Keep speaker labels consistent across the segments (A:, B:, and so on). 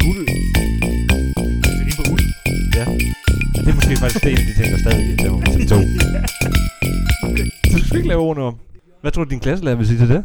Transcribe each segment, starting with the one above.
A: guld.
B: Det er Altså, lige på uld.
A: Og det er måske faktisk det, en af de ting, der stadig er på til to. Så du skal ikke lave ordene om. Hvad tror du, din klasselærer vil sige til det?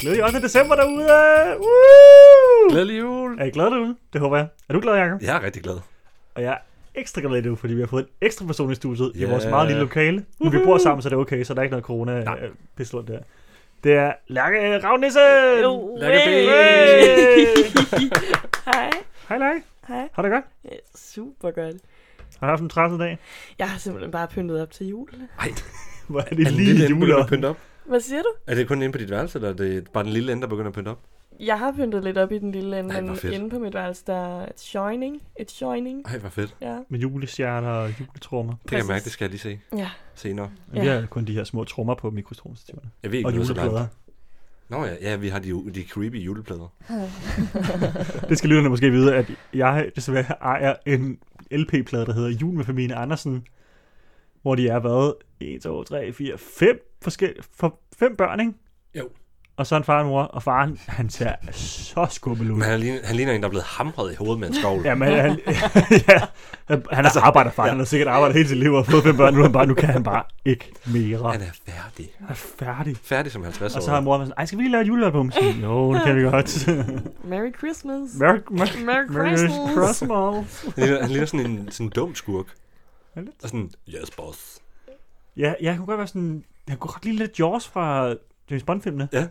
B: Glædelig 8. december derude! Woo!
C: Glædelig jul!
B: Er I glade derude? Det håber jeg. Er du glad, Jacob?
C: Jeg er rigtig glad.
B: Og jeg er ekstra glad nu, fordi vi har fået en ekstra person i studiet yeah.
C: Ja.
B: i vores meget lille lokale. Men vi bor sammen, så det er okay, så der er ikke noget corona pislund der. Det er Lærke Ravnisse!
C: Lærke B.
D: Hej.
B: Hej Lærke,
D: Hej.
B: har du det godt?
D: Ja, Super godt.
B: Har du haft en træsset dag?
D: Jeg har simpelthen bare pyntet op til jul.
B: Hvor er det
C: Er den
B: lige
C: lille ende
B: jule?
C: begynder at pynte op?
D: Hvad siger du?
C: Er det kun inde på dit værelse, eller er det bare den lille ende, der begynder at pynte op?
D: Jeg har pyntet lidt op i den lille ende,
C: Ej, hvor
D: men
C: fedt.
D: inde på mit værelse, der er et shining. Et shining,
C: Ej, hvor fedt.
D: ja.
B: Med julestjerner og juletrummer.
C: Det kan jeg
D: Præcis.
C: mærke, det skal jeg lige se
D: Ja,
C: senere.
B: Ja. Vi har kun de her små trommer på mikrostromstativerne.
C: Jeg ved ikke,
B: Og
C: noget så langt.
B: juleplader.
C: Nå ja, ja, vi har de, de creepy juleplader.
B: Det skal lytterne måske vide, at jeg desværre ejer en LP-plade, der hedder Jul med familien Andersen, hvor de er været 1, 2, 3, 4, 5 forskellige, for fem børn, ikke?
C: Jo.
B: Og så en far og en mor, og faren, han ser så skummel ud.
C: Men han ligner, han ligner en, der er blevet hamret i hovedet med en skovl.
B: Ja, men han, ja, han har altså, arbejdet far, han har sikkert arbejdet hele sit liv og fået fem børn, nu, er han bare, nu kan han bare ikke mere.
C: Han er færdig.
B: Han er færdig.
C: Færdig som 50 år.
B: Og så har mor været sådan, ej, skal vi lige lave et julealbum? Så, Jo, det kan vi godt.
D: Merry Christmas.
B: Merry, Merry,
D: Merry Christmas.
B: Merry Christmas.
C: han, ligner, han ligner sådan en sådan en dum skurk.
B: Ja, lidt.
C: Og sådan, yes boss.
B: Ja, jeg kunne godt være sådan... Jeg kunne godt lide lidt Jaws fra James Bond-filmene.
C: Ja.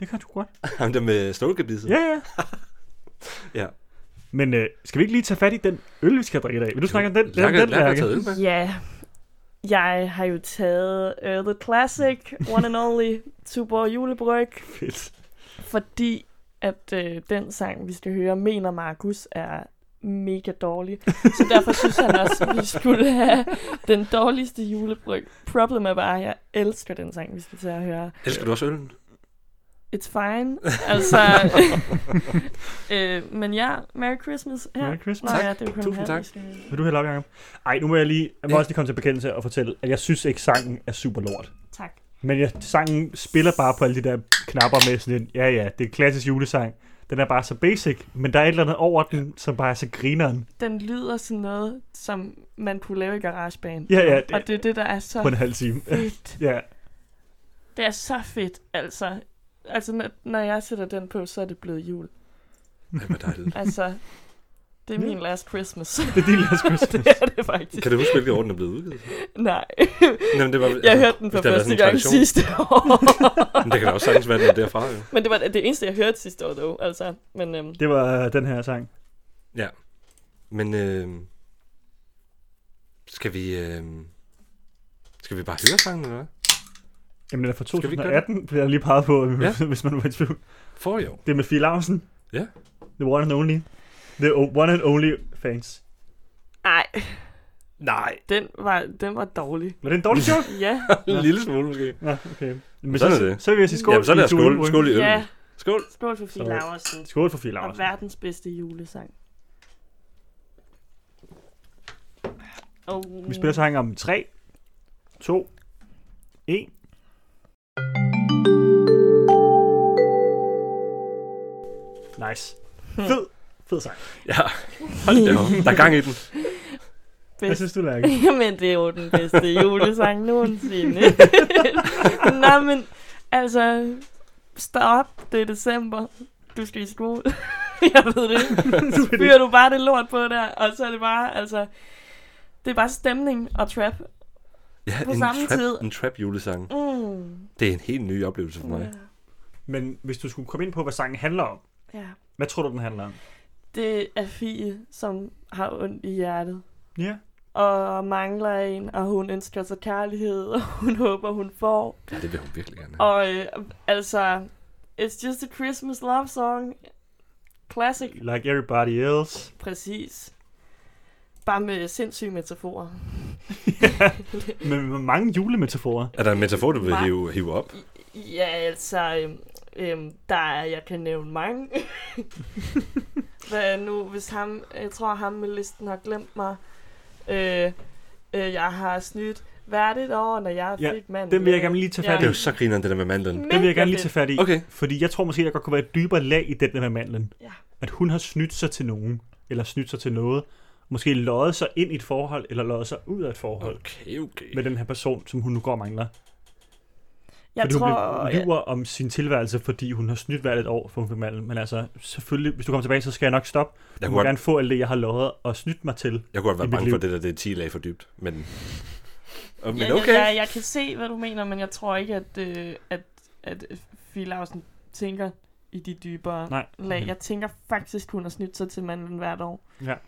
B: Det kan du godt.
C: Ham der med stålgebidset.
B: Ja, ja.
C: Ja.
B: Men øh, skal vi ikke lige tage fat i den øl, vi skal drikke i dag? Vil du snakke om den?
C: Lærke,
B: den,
C: Lærke har
B: Lærke?
C: taget øl med.
D: Ja, jeg har jo taget uh, The Classic One and Only Tuborg Julebryg,
B: Fedt.
D: fordi at øh, den sang, vi skal høre, mener Markus, er mega dårlig. Så derfor synes han også, at vi skulle have den dårligste julebryg. Problem er bare, at jeg elsker den sang, vi skal til at høre.
C: Elsker du også øllen?
D: It's fine. Altså, øh, men ja, Merry Christmas her.
B: Merry
D: Nå
B: Christmas.
C: Tak.
D: ja, det er jo kun
C: Tusind
D: her,
C: tak.
D: vi skal-
B: Vil du hælde op, Jacob? Ej, nu må jeg lige... Jeg må
C: Ja.
B: også lige komme til bekendelse og fortælle, at jeg synes ikke, sangen er super lort.
D: Tak.
B: Men jeg, sangen spiller bare på alle de der knapper med sådan en, ja ja, det er en klassisk julesang. Den er bare så basic, men der er et eller andet over den, som bare er så grineren.
D: Den lyder sådan noget, som man kunne lave i garageband.
B: Ja ja, det,
D: Og det er det, der er så
B: på en halv time.
D: fedt.
B: ja,
D: Det er så fedt, altså. Altså, når, når jeg sætter den på, så er det blevet jul.
C: Ej, hvor dejligt.
D: Altså, det er
B: Ja.
D: min last Christmas.
B: det er din last Christmas.
D: det er det faktisk.
C: Kan du huske, hvilken orden er blevet udgivet?
D: Nej,
C: Nej, men det var,
D: jeg hørte den for
C: hvis der har været
D: første
C: sådan en
D: gang
C: tradition.
D: sidste år.
C: Men det kan da også sagtens være, den er derfra, jo.
D: Men det var det eneste, jeg hørte sidste år, dog. Altså, men øhm,
B: Det var øh, den her sang.
C: Men øh, skal vi... Øh, skal vi bare høre sangen, eller hvad?
B: Jamen, den er fra
C: Skal vi ikke gøre
B: 2018, bliver jeg lige peget på, ja.
C: Ja.
B: hvis man var i tvivl.
C: For jo.
B: Det er med Fie Larsen.
C: Ja.
B: The one and only. The o- one and only fans.
D: ej,
C: Nej.
D: den var, den var dårlig.
B: Var det en dårlig joke?
D: Ja,
C: En lille smule, måske.
B: ja, okay. Men
C: Sådan
B: så,
C: er det.
B: Så vil jeg sige skål.
C: Jamen, så
B: i
C: lad os skål,
B: Tulenbrug.
C: skål i øl.
D: ja.
C: Skål.
D: Skål for Fie
B: Sorry.
D: Laversen.
B: Skål for Fie
D: Og
B: Larsen.
D: verdens bedste julesang. Oh.
B: Vi spiller sangen om 3, 2, 1. Nice. Fed. Fed sang.
C: Ja, hold da op. Der er gang i den.
B: Hvad
D: bedste.
B: synes du, Lærke?
D: Jamen, det er jo den bedste julesang nogensinde. Nej, men altså, stop, det er december. Du skal i skole. Jeg ved det. Så fyrer du bare det lort på der, og så er det bare, altså, det er bare stemning og trap.
C: Ja,
D: På
C: en
D: samme
C: trap,
D: tid.
C: en trap julesang.
D: Mm.
C: Det er en helt ny oplevelse for mig.
B: Men hvis du skulle komme ind på, hvad sangen handler om,
D: Ja.
B: hvad tror du, den handler om?
D: Det er Fie, som har ondt i hjertet.
B: Ja.
D: og mangler en, og hun ønsker sig kærlighed, og hun håber, hun får.
C: Ja, det vil hun virkelig gerne have.
D: Og øh, altså, it's just a Christmas love song. Classic.
B: Like everybody else.
D: Præcis. Bare med sindssyge metaforer.
B: Med, med mange julemetaforer.
C: Er der en metafor, du vil
D: Nej.
C: hive, hive op?
D: I- Ja, altså, øhm, øhm, der er, jeg kan nævne mange. Hvad nu, hvis ham, jeg tror, ham med listen har glemt mig. Øh, øh, jeg har snydt. hvert et år, når jeg
B: Ja,
D: fik manden.
B: den vil jeg gerne lige tage fat
C: Det er jo så grineren, det der med mandlen.
B: Den vil jeg gerne lige tage fat i.
C: Okay.
B: Fordi jeg tror måske, der godt kunne være et dybere lag i den der med mandlen.
D: Ja.
B: At hun har snydt sig til nogen, eller snydt sig til noget. Måske løjet sig ind i et forhold, eller løjet sig ud af et forhold
C: Okay, okay.
B: med den her person, som hun nu går og mangler.
D: Jeg
B: fordi
D: tror,
B: hun
D: jeg,
B: lyver om sin tilværelse, fordi hun har snydt hvert et år for hun fik mandlen. Men altså, selvfølgelig, hvis du kommer tilbage, så skal jeg nok stoppe.
C: Jeg
B: Jeg
C: kunne,
B: må
C: godt,
B: gerne få alt det, jeg har lovet og snydt mig til.
C: jeg kunne godt
B: i
C: være
B: mit
C: bange for
B: liv.
C: det der, det er 10 lag for dybt. Men, Og- men
D: jeg,
C: okay.
D: jeg, jeg, jeg kan se, hvad du mener, men jeg tror ikke, at, øh, at, at Filausen tænker i de dybere
B: Nej. Mhm.
D: lag. Jeg tænker faktisk, hun har snydt sig til manden hvert år.
B: Ja, jeg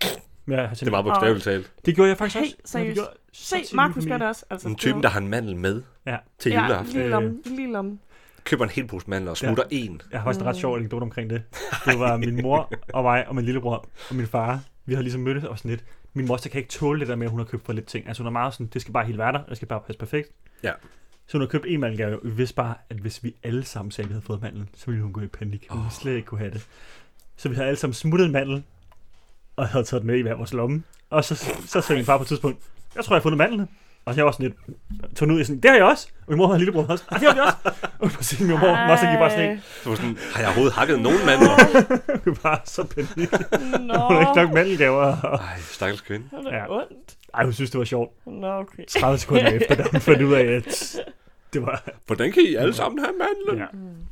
C: Det
B: tænker-
C: var bogstaveligt talt.
B: det gjorde jeg faktisk
D: Hey,
B: også. Men det
D: seriøst.
B: gjorde så tit
D: Se,
B: i
D: Markus
B: min
D: gør det
B: familie.
D: også. Altså,
C: En
D: det
C: type,
D: var-
C: der har en mandel med
B: Ja.
C: til juleaften.
D: Ja, lige lommen,
B: Øh.
D: lige lommen.
C: Køber en hel pose mandler og smutter en.
B: Jeg har faktisk en ret sjov anekdote omkring det. Det var min mor og mig og min lillebror og min far. Vi havde ligesom mødtes og sådan lidt. Min moster kan ikke tåle det der med, at hun har købt for lidt ting. Altså hun er meget sådan, det skal bare helt være der, det skal bare passe perfekt.
C: Ja.
B: Så hun har købt en mandelgave. Vi vidste bare, at hvis vi alle sammen sagde, at vi havde fået mandlen, så ville hun gå i panik. Hun ville slet ikke kunne have det. Så vi havde alle sammen smuttet en mandel, og havde taget den med i hver vores lomme. Og så, så sagde min far på et tidspunkt, jeg tror, jeg har fundet mandlen. Og jeg var sådan lidt, tog den ud i sådan, det har jeg også. Og min mor og min lillebror havde også, "Ej, det har vi også. Og så siger min mor, og så gik bare sådan en,
C: Så var sådan, har jeg overhovedet hakket nogen mandler?
B: det var så panik.
D: Nå,
B: Hun har ikke nok mandelgaver.
C: Ej, stakkels kvinde.
D: er det
B: Ja.
D: ondt?
B: Ej, hun synes, det var sjovt.
D: Nå, okay.
B: 30 sekunder efter, da hun fandt ud af, at det var...
C: Hvordan kan I alle sammen have mandlen?
B: Ja.
D: Mm.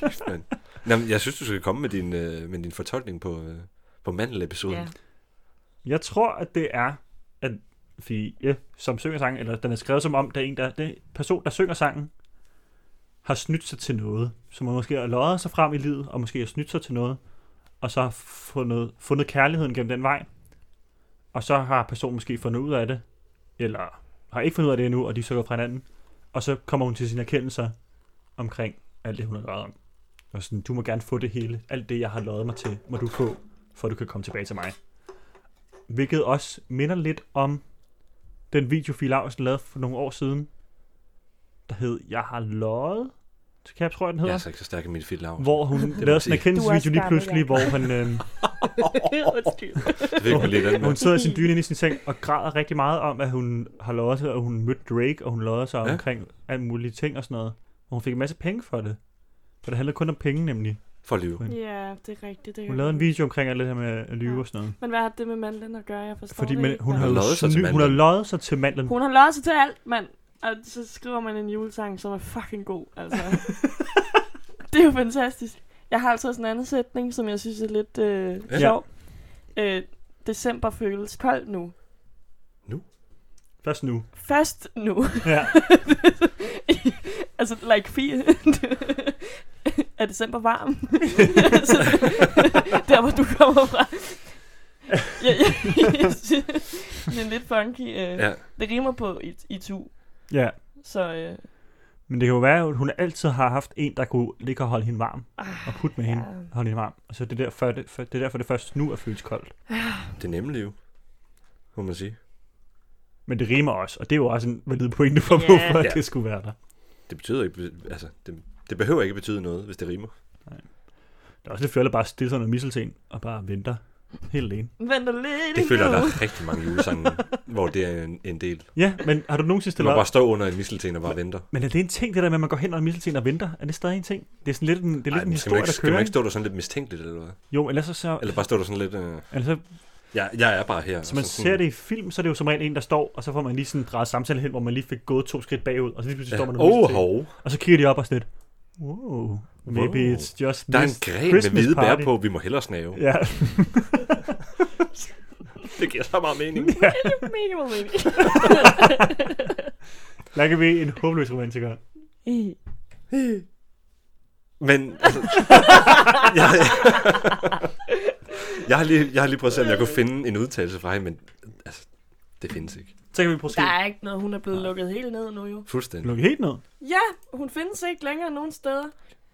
C: Kæft, mand. Nå, men jeg synes, du skal komme med din, øh, med din fortolkning på, øh, på mandel-episoden.
D: Ja.
B: Jeg tror, at det er, at Fie, som synger sangen, eller den er skrevet som om, der er en, der, den person, der synger sangen, har snydt sig til noget, som man måske har løjet sig frem i livet, og måske har snydt sig til noget, og så har fundet, fundet kærligheden gennem den vej, og så har personen måske fundet ud af det, eller har ikke fundet ud af det endnu, og de er så gået fra hinanden, og så kommer hun til sine erkendelser omkring alt det, hun har løjet om. Og sådan, du må gerne få det hele, alt det, jeg har løjet mig til, må du få, for at du kan komme tilbage til mig. Hvilket også minder lidt om den video, Fie Lausen lavede for nogle år siden, der hed Jeg har løjet, så kan jeg tror jeg, den hedder.
C: Jeg er altså ikke så stærk i mit fedt lav.
B: Hvor hun
C: må
B: lavede
C: jeg
B: sådan en
C: sige.
D: Du
B: erkendelsesvideo
D: er
B: lige
D: også
B: pludselig, hvor
D: gammel,
B: han, øh,
D: Undskyld.
C: Det ved ikke, lidt andet.
B: hvor hun sidder i sin dyne inde i sin seng og græder rigtig meget om, at hun har lovet sig, at hun mødte Drake, og hun lovede sig
C: Ja.
B: ja. omkring alle mulige ting og sådan noget. Og hun fik en masse penge for det. For det handlede kun om penge nemlig.
C: For at lyve.
D: Ja, det er rigtigt. Det er
B: Hun lavede en video omkring alt det her med at lyve og sådan noget.
D: Men hvad har det med mandlen at gøre? Jeg forstår
B: Fordi
D: det
B: men,
D: ikke.
B: hun,
D: mand.
B: har
C: Hun
B: jo
C: har lovet sig til
B: sny- hun har
C: mandlen.
B: lovet sig til mandlen.
D: Mm. Hun har løjet sig til alt, mand. Og så skriver man en julesang, som er fucking god, altså. det er jo fantastisk. Jeg har altså også en anden sætning, som jeg synes er lidt øh,
C: Ja.
D: sjov. Øh, december føles koldt nu.
B: Først nu.
D: Først nu.
B: Ja.
D: altså, like fire. er december varm? altså, der, hvor du kommer fra. jeg, jeg, jeg synes, det er lidt funky. Øh.
C: Ja.
D: Det rimer på i, i tu.
B: ja.
D: Så øh,
B: Men det kan jo være, at hun altid har haft en, der kunne ligge og holde hende varm.
D: Ah,
B: Og putte med hende
D: ja.
B: og holde hende varm. Og så er det derfor, det, for, det, er derfor, det først nu er føles koldt.
C: Det er nemlig jo. Må man sige.
B: Men det rimer også, og det er jo også en valid pointe for,
D: Ja.
B: hvorfor
C: Ja.
B: det skulle være der.
C: Det betyder ikke, altså, det, det behøver ikke betyde noget, hvis det rimer.
B: Det er også lidt fjollet at bare stille sig under misselten og bare venter helt alene.
D: venter lidt
C: Det føler jeg, der
D: endnu.
C: er rigtig mange julesange, hvor det er en, en del.
B: Ja, men har du nogensinde
C: Det
B: stillet
C: må
B: op?
C: bare stå under en mistelten og bare venter.
B: Men er det en ting, det der med, at man går hen under misselten og venter? Er det stadig en ting? Det er sådan lidt en, det er lidt
C: Ej,
B: en
C: men skal man
B: historie,
C: ikke,
B: der
C: skal
B: kører.
C: man ikke stå der sådan lidt mistænkeligt, eller hvad?
B: ikke? Jo, ellers så, så,
C: Eller bare stå der sådan lidt, øh,
B: eller så
C: jeg, jeg er bare her.
B: Så man
C: og
B: ser det i film, så er det jo som regel en, der står, og så får man lige sådan drejet samtalen hen, hvor man lige fik gået to skridt bagud, og så lige pludselig
C: Ja.
B: står man og
C: Oh,
B: lyser til.
C: hov.
B: Og så kigger de op og sådan lidt, wow, maybe
C: Wow.
B: it's just
C: Der er
B: this
C: en gren med
B: Christmas
C: hvide bær
B: party."
C: på, vi må hellere snave.
B: Ja,
C: Det giver så meget mening.
D: Mega god mening.
B: der kan vi en håbløs romantiker.
C: Men altså, jeg, jeg, har lige, jeg har lige prøvet at se, om jeg kunne finde en udtalelse fra hende, men altså, det findes ikke.
B: Så kan vi prøve at se.
D: Der er ikke noget, hun er blevet lukket helt ned nu jo.
C: Fuldstændig.
B: Lukke helt ned.
D: Ja, hun findes ikke længere nogen steder.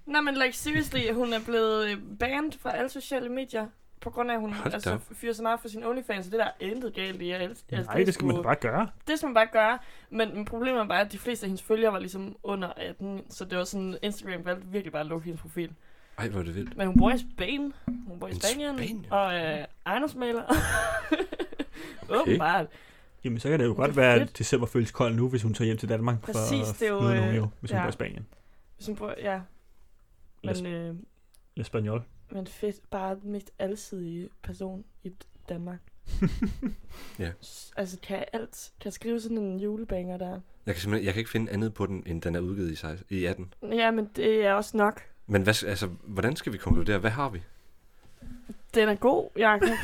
D: Nej, men like seriously, hun er blevet øh, banned fra alle sociale medier. På grund af, at hun
C: Hold da
D: altså,
C: op.
D: fyrer så meget for sin OnlyFans, og det der er intet galt i. Jeg elsker,
B: Nej, det skal man da bare gøre.
D: det skal man bare gøre. Men, men problemet var bare, at de fleste af hendes følgere var ligesom under 18, så det var sådan, Instagram valgte virkelig bare at lukke hendes profil.
C: Ej, hvor er det vildt.
D: Men hun bor i Spanien. Hun bor i
C: En
D: Spanien.
C: Spanien?
D: Og øh, ejendomsmaler. Åbenbart.
B: Jamen, så kan det jo
D: Men
B: godt
D: det er
B: være, at
D: fedt.
B: december føles kold nu, hvis hun tager hjem til Danmark
D: Præcis,
B: for at
D: det er jo,
B: møde nogen,
D: øh,
B: jo, hvis hun
D: ja.
B: går i Spanien.
D: Hvis man bruger, ja.
B: Lad os-
D: Men, øh,
B: Eller Spanjol.
D: men fedt, bare den mest alsidige person i Danmark.
C: Ja.
D: S- Altså, kan jeg alt? Kan jeg skrive sådan en julebanger der?
C: Jeg kan simpelthen jeg kan ikke finde andet på den, end den er udgivet i, 16, i 18.
D: Ja, men det er også nok.
C: Men hvad, altså, hvordan skal vi konkludere? Hvad har vi?
D: Den er god, Jacob.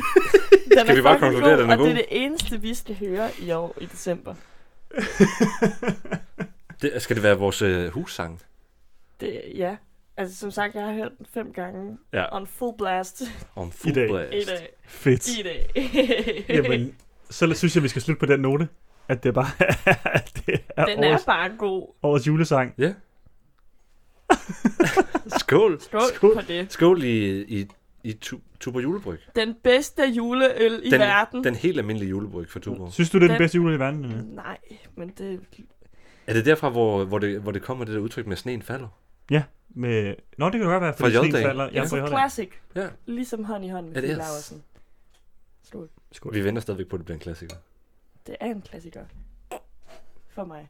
D: Den
C: Skal
D: er
C: vi bare
D: fucking
C: konkludere,
D: god,
C: den er
D: og
C: god?
D: det er det eneste, vi skal høre i år i december.
C: Det, skal det være vores øh, hussang?
D: Det, ja. Altså, som sagt, jeg har hørt den fem gange.
C: Ja.
D: On full blast
C: Om full
B: dag.
C: blast.
D: i dag.
B: Fedt.
D: I dag.
B: Jamen, så synes jeg, vi skal slutte på den note, at det bare at det er,
D: den er
B: årets,
D: bare god.
B: årets julesang.
C: Ja. Skål.
D: Skål,
B: Skål.
D: Skål. på det.
C: Skål i, i, i tu, Tuborg julebryg.
D: Den bedste juleøl i
C: den,
D: verden.
C: Den helt almindelige julebryg fra Tuborg.
B: Synes du, det er den,
D: Den-
B: bedste jule i verden? Nina?
D: Nej, men det...
C: Er det derfra, hvor, hvor, det, hvor det kommer det der udtryk med, at sneen falder?
B: Med... Nå, det kan det godt være,
C: Fra
B: fordi sneen
C: J-dagen.
B: falder. Ja,
D: Ja,
B: fra
D: så
B: J-dagen.
D: classic.
C: Ja.
D: Ligesom hånd i hånd med
C: Ja, det
D: Kim
C: er-
D: Laursen. Skål.
B: Skål.
C: Vi venter stadigvæk på, at det bliver en klassiker.
D: Det er en klassiker. For mig.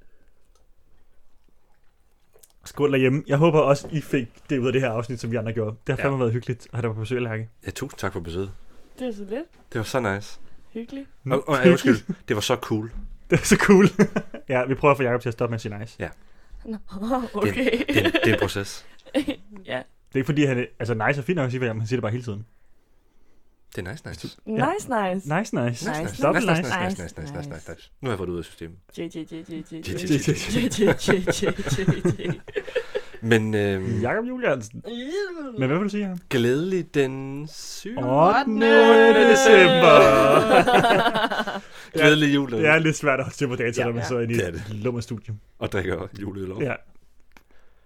B: Skål derhjemme. Jeg håber også, I fik det ud af det her afsnit, som vi andre gjorde. Det har
C: Ja.
B: fandme været hyggeligt at have dig på besøg, Lærke.
C: Ja, tusind tak for besøget.
D: Det er så lidt
C: Det var så nice.
D: hyggeligt.
B: Mm.
C: Og, og ej, undskyld, det var så cool.
B: Det er så cool. ja, vi prøver at få Jacob til at stoppe med at sige nice.
D: Nå, okay.
C: Det, er- det er en proces.
D: ja.
B: Det er ikke fordi, han... er- Altså, nice er fint nok at sige, hvad han siger det bare hele tiden.
C: Det er nice, nice.
D: Nice, nice.
B: Nice, nice.
D: Nice,
C: nice,
B: Double
C: nice, nice, nice, nice, nice,
D: nice,
C: nice, nice, nice,
D: nice.
C: nice. Nu har jeg fået det ud af systemet.
D: J, J, J, J, J, J,
C: J,
D: J,
C: J, J,
D: J, J, J, J,
C: Men øhm,
B: Jakob Juliansen.
D: J.
B: Men hvad vil du sige her?
C: glædelig den 7. Oh.
B: 8. december.
C: Glædelig jul.
B: Det er lidt svært at holde til på data,
D: Ja,
B: når man
D: ja.
B: så er inde i
C: Det er
B: et lummer studie.
C: Og drikker juleøl op.
B: Ja.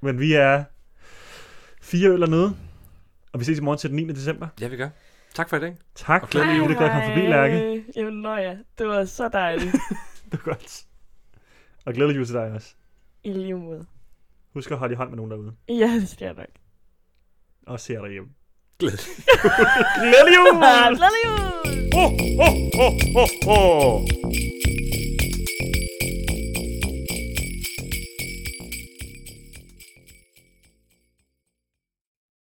B: Men vi er fire øl nede, og vi ses i morgen til den 9. december.
C: ja, vi gør. Tak for i dag.
B: Tak
C: Og
B: fordi
C: glædelig
B: I ville godt komme forbi, Lærke.
D: Jamen, nå ja. Det var så dejligt.
B: Det var godt. Og glædelig jul til dig også.
D: I lige måde.
B: Husk at holde i hånd med nogen derude.
D: Ja, det skal jeg nok.
B: Og se jer derhjemme.
C: Glædelig.
B: Glædelig jul!
D: Glædelig jul!
B: Oh, oh, oh, oh, oh.